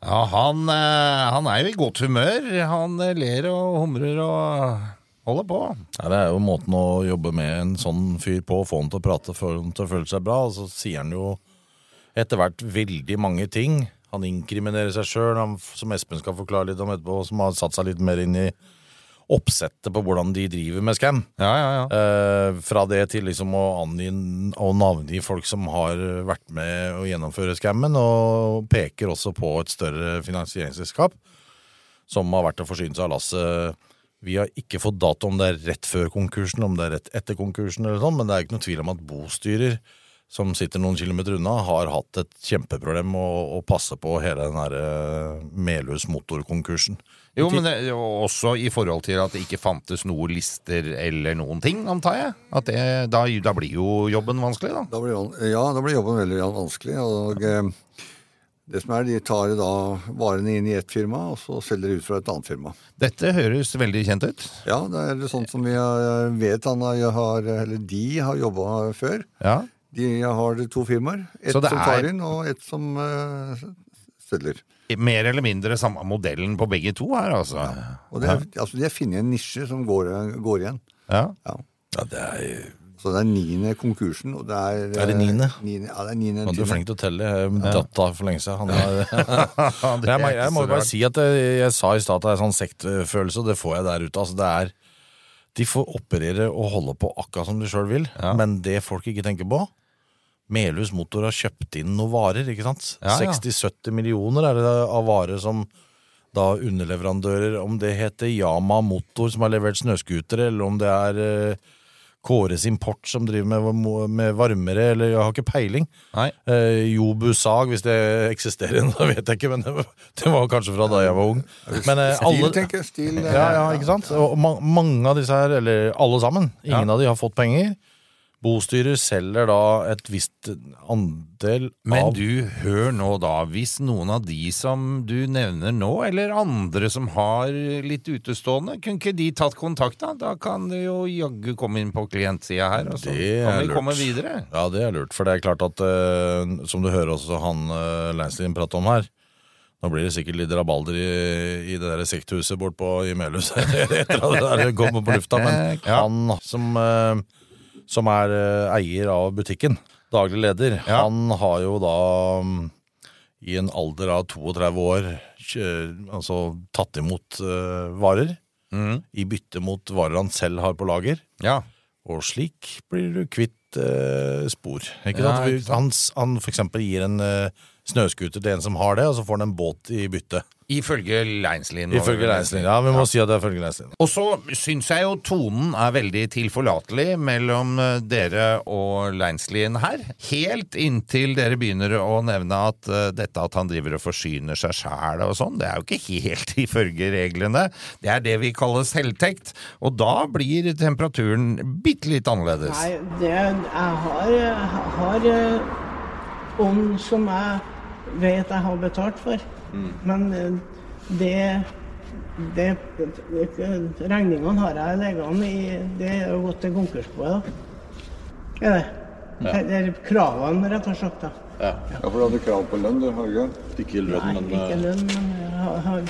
[SPEAKER 1] Ja, han, eh, han er jo i godt humør. Han eh, ler og humrer og holder på.
[SPEAKER 4] Ja, det er jo måten å jobbe med en sånn fyr på, få han til å prate, få han til å føle seg bra, og så sier han jo etter hvert veldig mange ting. Han inkriminerer seg sjøl, som Espen skal forklare litt om etterpå, som har satt seg litt mer inn i oppsettet på hvordan de driver med scam.
[SPEAKER 1] Ja, ja, ja.
[SPEAKER 4] Eh, fra det til liksom å angi og navngi folk som har vært med å gjennomføre skammen, og peker også på et større finansieringsselskap som har vært og forsynt seg av lasset. Vi har ikke fått dato om det er rett før konkursen, om det er rett etter konkursen, eller sånn, men det er ikke noe tvil om at bostyrer som sitter noen kilometer unna, har hatt et kjempeproblem å, å passe på hele den her eh, Melhus motorkonkursen.
[SPEAKER 1] Jo, men det, jo, også i forhold til at det ikke fantes noen lister eller noen ting, antar jeg. At det, da, da blir jo jobben vanskelig, da.
[SPEAKER 3] Da blir, jan- ja, da blir jobben veldig jan- vanskelig. Og eh, det som er, de tar da varene inn i ett firma, og så selger de ut fra et annet firma.
[SPEAKER 1] Dette høres veldig kjent ut.
[SPEAKER 3] Ja, det er det sånt som vi har- vet han har, har- eller de har jobba før.
[SPEAKER 1] Ja.
[SPEAKER 3] De har to firmaer. Ett
[SPEAKER 1] Så
[SPEAKER 3] som
[SPEAKER 1] det
[SPEAKER 3] tar
[SPEAKER 1] er-
[SPEAKER 3] inn, og ett som eh, selger.
[SPEAKER 1] Mer eller mindre samme modellen på begge to her, altså.
[SPEAKER 3] Og det er, altså, de har funnet en nisje som går, går igjen.
[SPEAKER 1] Ja.
[SPEAKER 3] Ja.
[SPEAKER 4] Ja, det er,
[SPEAKER 3] Så det er niende konkursen, og det er
[SPEAKER 4] Er det niende?
[SPEAKER 3] eh, Ja, det er niende.
[SPEAKER 4] Han er
[SPEAKER 3] tiende.
[SPEAKER 4] flink til å telle. Jeg datt av for lenge siden. Han er,
[SPEAKER 1] Det er
[SPEAKER 4] jeg, må-
[SPEAKER 1] ikke
[SPEAKER 4] jeg
[SPEAKER 1] så
[SPEAKER 4] må bare
[SPEAKER 1] rart.
[SPEAKER 4] si at jeg, jeg sa i stad at det er sånn sektfølelse, og det får jeg der ute. Altså, det er, de får operere og holde på akkurat som de sjøl vil, men det folk ikke tenker på Melhus Motor har kjøpt inn noen varer, ikke sant?
[SPEAKER 1] Ja, ja.
[SPEAKER 4] 60-70 millioner er det av varer som da underleverandører, om det heter Yama Motor som har levert snøskutere, eller om det er eh, Kåres Import som driver med, med varmere, eller jeg har ikke peiling.
[SPEAKER 1] Nei.
[SPEAKER 4] Eh, Jobu Sag, hvis det eksisterer ennå, vet jeg ikke, men det var, det var kanskje fra da jeg var ung. Men eh,
[SPEAKER 3] Stil,
[SPEAKER 4] alle
[SPEAKER 3] tenker jeg. Stil. eh,
[SPEAKER 4] ja, ja, ikke sant? Og ma mange av disse her, eller alle sammen, ingen
[SPEAKER 1] Ja.
[SPEAKER 4] av de har fått penger. Bostyrer selger da et visst andel
[SPEAKER 1] Men
[SPEAKER 4] av
[SPEAKER 1] du, hør nå da, hvis noen av de som du nevner nå, eller andre som har litt utestående, kunne ikke de tatt kontakt da? Da kan du jo jaggu komme inn på klientsida her, og så
[SPEAKER 4] Det
[SPEAKER 1] kan
[SPEAKER 4] er
[SPEAKER 1] vi
[SPEAKER 4] lurt.
[SPEAKER 1] komme videre.
[SPEAKER 4] Ja, det er lurt, for det er klart at eh, som du hører også han uh, Leinstein prate om her, nå blir det sikkert litt rabalder i, i det der sekthuset bort på i Melhus etter at altså, det der kommer på lufta, men
[SPEAKER 1] Ja.
[SPEAKER 4] han som, eh, som er eh, eier av butikken, daglig leder,
[SPEAKER 1] Ja.
[SPEAKER 4] han har jo da mm, i en alder av 32 år kjø- altså, tatt imot eh, varer
[SPEAKER 1] Mm.
[SPEAKER 4] i bytte mot varer han selv har på lager.
[SPEAKER 1] Ja,
[SPEAKER 4] Og slik blir du kvitt eh, spor. Ikke
[SPEAKER 1] Ja,
[SPEAKER 4] sant? Vi-
[SPEAKER 1] ikke sant.
[SPEAKER 4] Han, s- han for eksempel gir en eh, snøskuter til en som har det, og så får han en båt i bytte.
[SPEAKER 1] ifølge Leinslien. var det
[SPEAKER 4] Ifølge
[SPEAKER 1] vel.
[SPEAKER 4] Leisling. Ja, vi må si at det er ifølge Leisling.
[SPEAKER 1] Og så syns jeg jo tonen er veldig tilforlatelig mellom eh, dere og Leinslien her. Helt inntil dere begynner å nevne at eh, dette at han driver og forsyner seg sjæl og sånn, det er jo ikke helt ifølge reglene. Det er det vi kaller selvtekt, og da blir temperaturen bitte litt annerledes.
[SPEAKER 2] Nei, det, jeg har, jeg har eh, ånd som jeg vet jeg har betalt for. Men eh, det, det, det Regningene har jeg liggende i Det er jo gått til konkursboet, da. Er det? Det- Det er kravene, rett og slett. da.
[SPEAKER 5] Ja, for du hadde krav på lønn, du, har du ikke?
[SPEAKER 6] Ikke lønn,
[SPEAKER 2] Nei,
[SPEAKER 6] men
[SPEAKER 2] ikke
[SPEAKER 6] eh,
[SPEAKER 2] lønn, men jeg har, har
[SPEAKER 6] han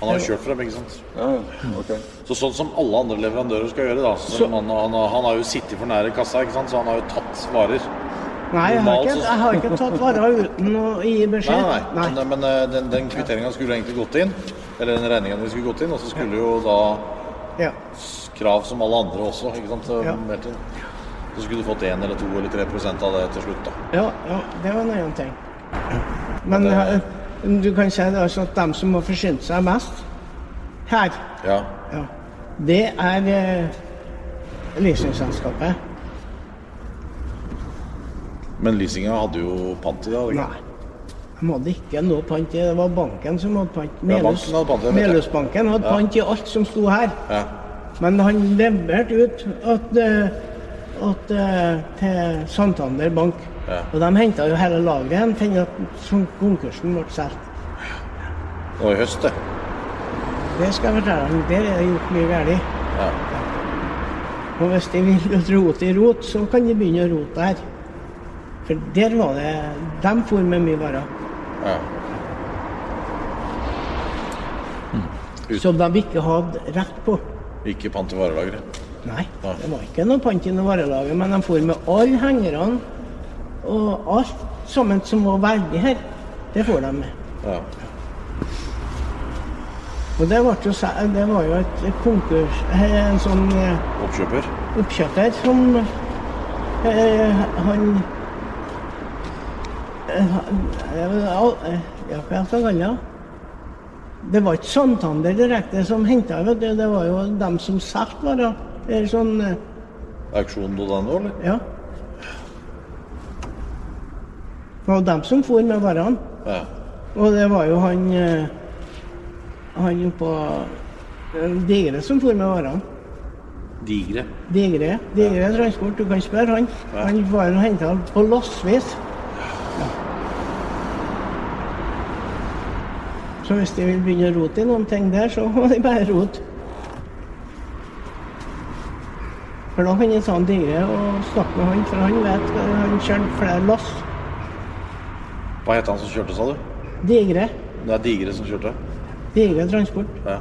[SPEAKER 6] har kjørt frem, ikke sant.
[SPEAKER 5] Ja, ja, ok.
[SPEAKER 6] Så sånn som alle andre leverandører skal gjøre, da. Så han, han, han har jo sittet for nære kassa, ikke sant, så han har jo tatt varer.
[SPEAKER 2] Nei, jeg har
[SPEAKER 6] Normalt
[SPEAKER 2] ikke,
[SPEAKER 6] så-
[SPEAKER 2] jeg har ikke tatt varer uten å gi
[SPEAKER 6] Nei,
[SPEAKER 2] beskjed.
[SPEAKER 6] nei, nei. Men, men eh, den, den kvitteringa skulle egentlig gått inn, eller den regninga skulle gått inn, og så skulle jo da
[SPEAKER 2] Ja.
[SPEAKER 6] krav som alle andre også, ikke sant,
[SPEAKER 2] Ja.
[SPEAKER 6] meldt inn. Så skulle du fått 1 eller 2 eller 3 prosent av det til slutt, da.
[SPEAKER 2] Ja, ja, det var en annen ting. Men eh, du kan si det altså at de som har forsynt seg mest her,
[SPEAKER 6] Ja.
[SPEAKER 2] ja, det er eh, leasingselskapet.
[SPEAKER 6] Men leasinga hadde jo pant i det. hadde det ikke?
[SPEAKER 2] Nei. De hadde ikke noe pant i det. var banken som hadde pant.
[SPEAKER 6] Ja, banken hadde pant, det vet jeg.
[SPEAKER 2] Melhusbanken hadde pant i alt som sto her.
[SPEAKER 6] Ja.
[SPEAKER 2] Men han leverte ut at, eh, at, eh, til Santander Bank.
[SPEAKER 6] Ja.
[SPEAKER 2] Og de henta jo hele lageret igjen til at som konkursen ble solgt.
[SPEAKER 6] Det var i høst, det.
[SPEAKER 2] Det skal jeg fortelle deg, der er det gjort mye galt.
[SPEAKER 6] Ja.
[SPEAKER 2] Og hvis de vil rote i rot, så kan de begynne å rote her. For der var det De for med mye varer.
[SPEAKER 6] ja. Ut.
[SPEAKER 2] Som de ikke hadde rett på.
[SPEAKER 6] Ikke pant i varelageret.
[SPEAKER 2] Nei,
[SPEAKER 6] Nei.
[SPEAKER 2] det var ikke noe pant i noe varelager, men de for med alle hengerne og alt sammen som var verdig her. Det får de med.
[SPEAKER 6] Ja.
[SPEAKER 2] Og det, ble jo, se- det var jo et konkurs eh, En sånn eh,
[SPEAKER 6] Oppkjøper.
[SPEAKER 2] oppkjøper som eh, han eh, han- eh, al- eh, Ja, hva jeg skal kalle det? Det var ikke Santander direkte som henta, vet du. Det var jo dem som solgte varer. Eller sånn eh,
[SPEAKER 6] Auksjon Dodano, eller?
[SPEAKER 2] Ja. Det var jo dem som for med varene.
[SPEAKER 6] Ja.
[SPEAKER 2] Og det var jo han eh, Han oppå eh, Digre som for med varene.
[SPEAKER 6] Digre.
[SPEAKER 2] Digre Digre Transport, du kan spørre han.
[SPEAKER 6] Ja.
[SPEAKER 2] Han var jo henta på lossvis. Så hvis de vil begynne å rote i noen ting der, så må de bare rote. For da kan en sånn digre og snakke med han, for han vet hva han kjører flere loss.
[SPEAKER 6] Hva het han som kjørte, sa du?
[SPEAKER 2] Digre.
[SPEAKER 6] Det er Digre som kjørte?
[SPEAKER 2] Digre transport.
[SPEAKER 6] Ja.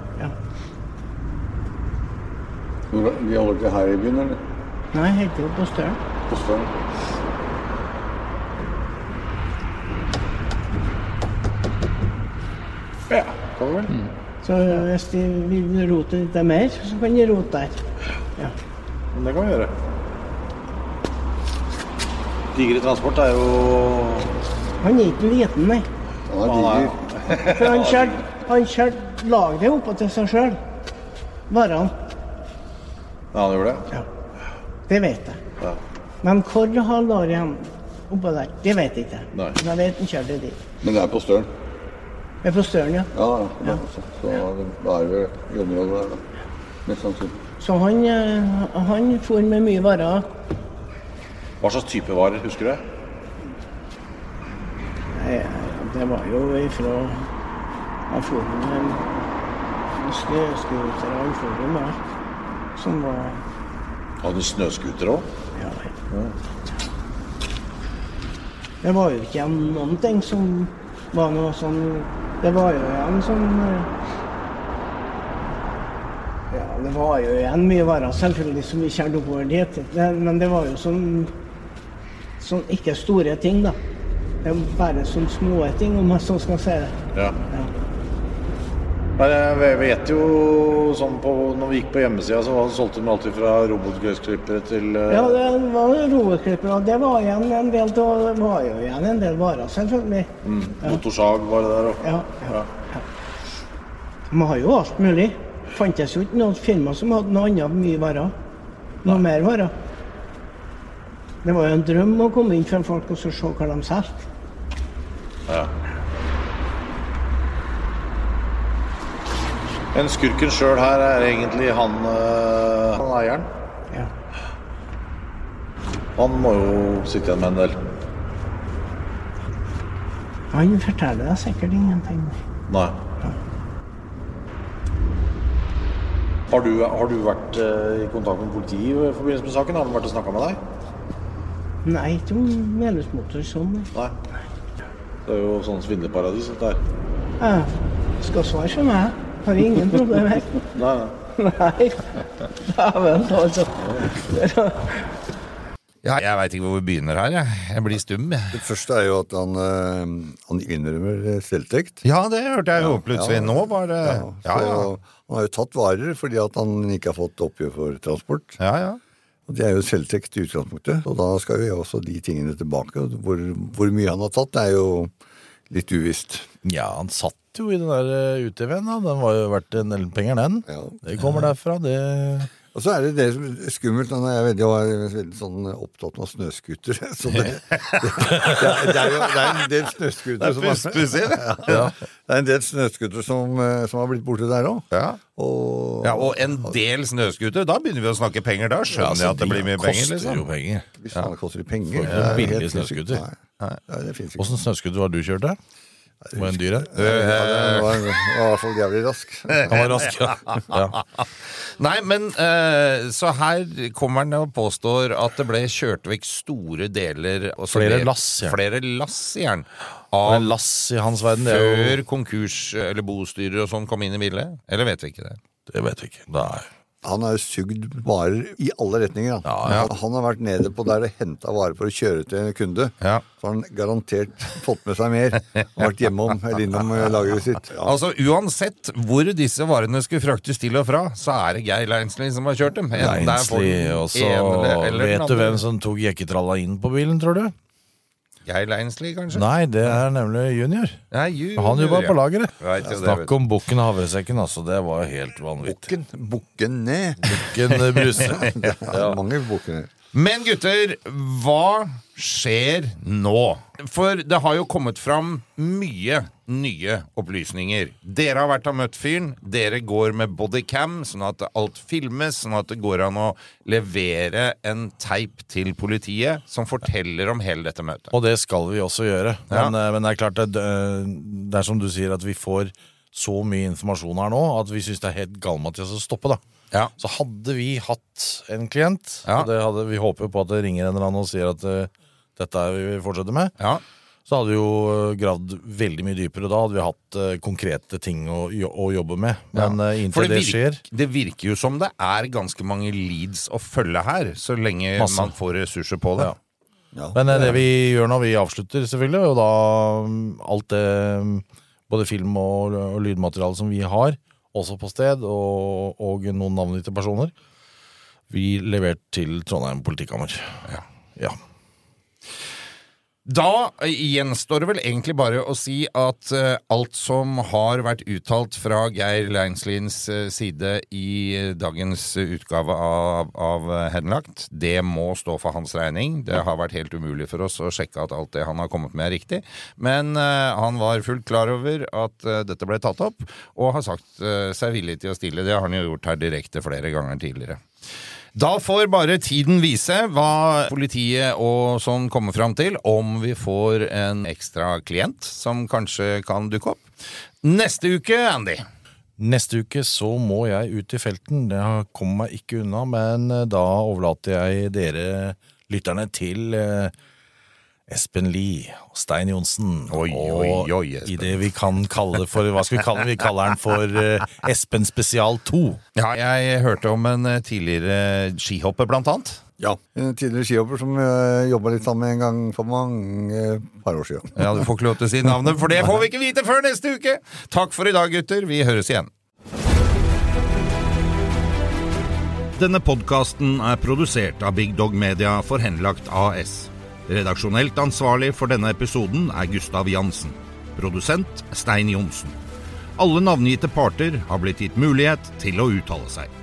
[SPEAKER 5] Vi holder til her i byen, eller?
[SPEAKER 2] Nei, helt opp på Støren.
[SPEAKER 5] På Støren.
[SPEAKER 6] Ja, kan du vel.
[SPEAKER 2] Så hvis de vil rote litt mer, så kan de rote der. Ja.
[SPEAKER 6] Men det kan vi gjøre. Digre Transport er jo
[SPEAKER 2] Han er ikke liten, nei.
[SPEAKER 6] Han er diger.
[SPEAKER 2] For han kjørte han kjørte lageret oppå til seg sjøl. Varene.
[SPEAKER 6] Ja, han gjorde det?
[SPEAKER 2] Det vet jeg.
[SPEAKER 6] Ja.
[SPEAKER 2] Men hvor har lageret oppå der? Det vet jeg ikke.
[SPEAKER 5] Nei.
[SPEAKER 2] Men jeg vet han kjørte dit.
[SPEAKER 5] Men det er på Støren.
[SPEAKER 2] Men på Støren, ja.
[SPEAKER 5] Ja, ja. det er på Støren. Så det- da er vi i området der, da. Mest sannsynlig.
[SPEAKER 2] Så han, eh, han for med mye varer.
[SPEAKER 6] Hva slags type varer, husker du? det?
[SPEAKER 2] Nei, Det var jo ifra Han for med en snøscooter og en forum der, som var
[SPEAKER 6] Hadde du snøscooter òg?
[SPEAKER 2] Ja. Det var jo ikke igjen noen ting som var noe sånn Det var jo igjen sånn eh, Ja, det var jo igjen mye varer selvfølgelig som vi kjørte oppover dit, det, men det var jo sånn Sånn ikke store ting, da. Det er bare sånn små ting, om jeg så skal si det.
[SPEAKER 6] Ja. Nei, jeg vet jo sånn på Når vi gikk på hjemmesida, så var det solgte de alltid fra robotgressklippere til eh,
[SPEAKER 2] Ja, det var jo roeklippere, og det var igjen en del av Det var jo igjen en del varer, selvfølgelig.
[SPEAKER 6] mm, motorsag var det der òg.
[SPEAKER 2] Ja, Man har jo alt mulig. Fantes jo ikke noe firma som hadde noe annet mye varer. Noe mer varer. Det var jo en drøm å komme inn fra folk og så se hva de solgte.
[SPEAKER 6] Ja. Men skurken sjøl her er egentlig han, eh, han eieren.
[SPEAKER 2] Ja.
[SPEAKER 6] Han må jo sitte igjen med en del.
[SPEAKER 2] Han forteller deg sikkert ingenting.
[SPEAKER 6] Nei. Har du, har du vært eh, i kontakt med politiet i forbindelse med saken? Har de vært og snakka med deg?
[SPEAKER 2] Nei, ikke om medlemsmotor sånn. nei.
[SPEAKER 6] Nei. Det er jo sånn svindleparadis, dette her.
[SPEAKER 2] Jeg skal svare for meg. Har jeg ingen problemer.
[SPEAKER 6] Nei,
[SPEAKER 2] Nei. Dæven, altså.
[SPEAKER 1] Ja, jeg veit ikke hvor vi begynner her, jeg. Jeg blir stum, jeg.
[SPEAKER 3] Det første er jo at han, eh, han innrømmer selvtekt.
[SPEAKER 1] Ja, det hørte jeg jo plutselig. Nå var det Ja,
[SPEAKER 3] så
[SPEAKER 1] ja.
[SPEAKER 3] Han har jo tatt varer fordi at han ikke har fått oppgjør for transport.
[SPEAKER 1] ja, ja.
[SPEAKER 3] Og Det er jo selvtekt i utgangspunktet, og da skal jo også de tingene tilbake. og Hvor, hvor mye han har tatt, er jo litt uvisst.
[SPEAKER 4] Ja, han satt jo i den der eh, UTV-en, da. Den var jo verdt en del penger, den. Det kommer derfra, det
[SPEAKER 3] Og så er det det som er skummelt. Han er veldig, veldig sånn opptatt av snøskuter. Så det, det, er- det, er jo det er en del snøskuter som har- ja. Det er en del snøskuter som, eh, som har blitt borte der òg.
[SPEAKER 1] Ja.
[SPEAKER 3] Og
[SPEAKER 1] ja, og en del snøskuter. Da begynner vi å snakke penger. Da skjønner
[SPEAKER 4] altså,
[SPEAKER 1] jeg at det blir mye penger. liksom.
[SPEAKER 4] penger.
[SPEAKER 3] hvis faen, det koster penger.
[SPEAKER 4] Får ikke
[SPEAKER 3] det
[SPEAKER 4] noen
[SPEAKER 3] er
[SPEAKER 4] billige
[SPEAKER 3] helt sinnssykt.
[SPEAKER 4] snøskuter.
[SPEAKER 3] Nei. Nei, det finnes ikke.
[SPEAKER 4] Åssen snøskuter var det du kjørte? Var en dyr en?
[SPEAKER 3] Ja, det var, det var i hvert fall jævlig rask.
[SPEAKER 4] Han var rask, ja. ja.
[SPEAKER 1] Nei, men eh, så her kommer han og påstår at det ble kjørt vekk store deler og så
[SPEAKER 4] Flere
[SPEAKER 1] det-
[SPEAKER 4] lass, ja.
[SPEAKER 1] Flere lass, sier han.
[SPEAKER 4] Og
[SPEAKER 1] Av
[SPEAKER 4] en lass i hans verden, det er jo
[SPEAKER 1] før konkurs eller bostyrer og sånn kom inn i bildet. Eller vet vi ikke det?
[SPEAKER 4] Det vet vi ikke. Nei.
[SPEAKER 3] Han har jo sugd varer i alle retninger. Han,
[SPEAKER 4] ja.
[SPEAKER 3] han har vært nede på der det henta varer for å kjøre til en kunde.
[SPEAKER 1] Ja.
[SPEAKER 3] Så har han garantert fått med seg mer. Han har vært hjemom eller innom eh, lageret sitt. Ja.
[SPEAKER 1] Altså Uansett hvor disse varene skulle fraktes til og fra, så er det Geir Leinsli som har kjørt dem. Enten det er for
[SPEAKER 4] Leinsli,
[SPEAKER 1] den
[SPEAKER 4] og så
[SPEAKER 1] ene eller- eller den
[SPEAKER 4] Vet du
[SPEAKER 1] andre.
[SPEAKER 4] hvem som tok jekketralla inn på bilen, tror du?
[SPEAKER 1] Geir Leinsli, kanskje?
[SPEAKER 4] Nei, det er nemlig junior.
[SPEAKER 1] Nei, ju-
[SPEAKER 4] Han jobba på lageret.
[SPEAKER 1] Jeg vet jo det, vet
[SPEAKER 4] Snakk
[SPEAKER 1] du.
[SPEAKER 4] om bukken og havresekken, altså. Det var jo helt vanvittig.
[SPEAKER 3] Bukken, bukken ned.
[SPEAKER 4] Bukken eh, Bruse.
[SPEAKER 3] Ja. Mange bukker ned.
[SPEAKER 1] Men gutter, hva skjer nå? For det har jo kommet fram mye nye opplysninger. Dere har vært og møtt fyren. Dere går med bodycam, sånn at alt filmes, sånn at det går an å levere en teip til politiet som forteller om hele dette møtet.
[SPEAKER 4] Og det skal vi også gjøre.
[SPEAKER 1] Ja.
[SPEAKER 4] Men, eh, men det er klart, det, det er som du sier, at vi får så mye informasjon her nå at vi syns det er helt galmathias å stoppe, da.
[SPEAKER 1] Ja.
[SPEAKER 4] Så hadde vi hatt en klient,
[SPEAKER 1] Ja.
[SPEAKER 4] og det hadde, vi håper jo på at det ringer en eller annen og sier at eh, dette er vi vil fortsette med,
[SPEAKER 1] Ja.
[SPEAKER 4] så hadde vi jo eh, gravd veldig mye dypere da. Hadde vi hatt eh, konkrete ting å, jo- å jobbe med. Men eh,
[SPEAKER 1] For det
[SPEAKER 4] inntil det,
[SPEAKER 1] virker,
[SPEAKER 4] skjer
[SPEAKER 1] det virker jo som det er ganske mange leads å følge her, så lenge
[SPEAKER 4] Masse.
[SPEAKER 1] man får ressurser på det.
[SPEAKER 4] Ja. Men eh, det vi gjør når vi avslutter, selvfølgelig, og da mm, alt det mm, Både film og, og lydmateriale som vi har, også på sted, og, og noen navngitte personer, vi levert til Trondheim politikammer. Ja.
[SPEAKER 1] Da gjenstår det vel egentlig bare å si at eh, alt som har vært uttalt fra Geir Leinslins eh, side i eh, dagens utgave av, av eh, Henlagt, det må stå for hans regning. Det har vært helt umulig for oss å sjekke at alt det han har kommet med, er riktig. Men eh, han var fullt klar over at eh, dette ble tatt opp, og har sagt eh, seg villig til å stille. Det har han jo gjort her direkte flere ganger tidligere. Da får bare tiden vise hva politiet og sånn kommer fram til, om vi får en ekstra klient som kanskje kan dukke opp. Neste uke, Andy.
[SPEAKER 4] Neste uke så må jeg ut i felten. Det har- kommer meg ikke unna, men eh, da overlater jeg dere lytterne til eh, Espen Lie og Stein Johnsen.
[SPEAKER 1] Oi, oi, oi,
[SPEAKER 4] Og
[SPEAKER 1] Espen.
[SPEAKER 4] i det vi kan kalle det for Hva skal vi kalle den? Vi kaller den for eh, Espen Spesial 2.
[SPEAKER 1] Ja, jeg hørte om en eh, tidligere skihopper, blant annet.
[SPEAKER 3] Ja. En tidligere skihopper som jeg jobba litt sammen med en gang for mange eh, par år siden.
[SPEAKER 1] Ja, Du får ikke lov til å si navnet, for det får vi ikke vite før neste uke! Takk for i dag, gutter. Vi høres igjen. Denne podkasten er produsert av Big Dog Media for Henlagt AS. Redaksjonelt ansvarlig for denne episoden er Gustav Jansen. Produsent Stein Johnsen. Alle navngitte parter har blitt gitt mulighet til å uttale seg.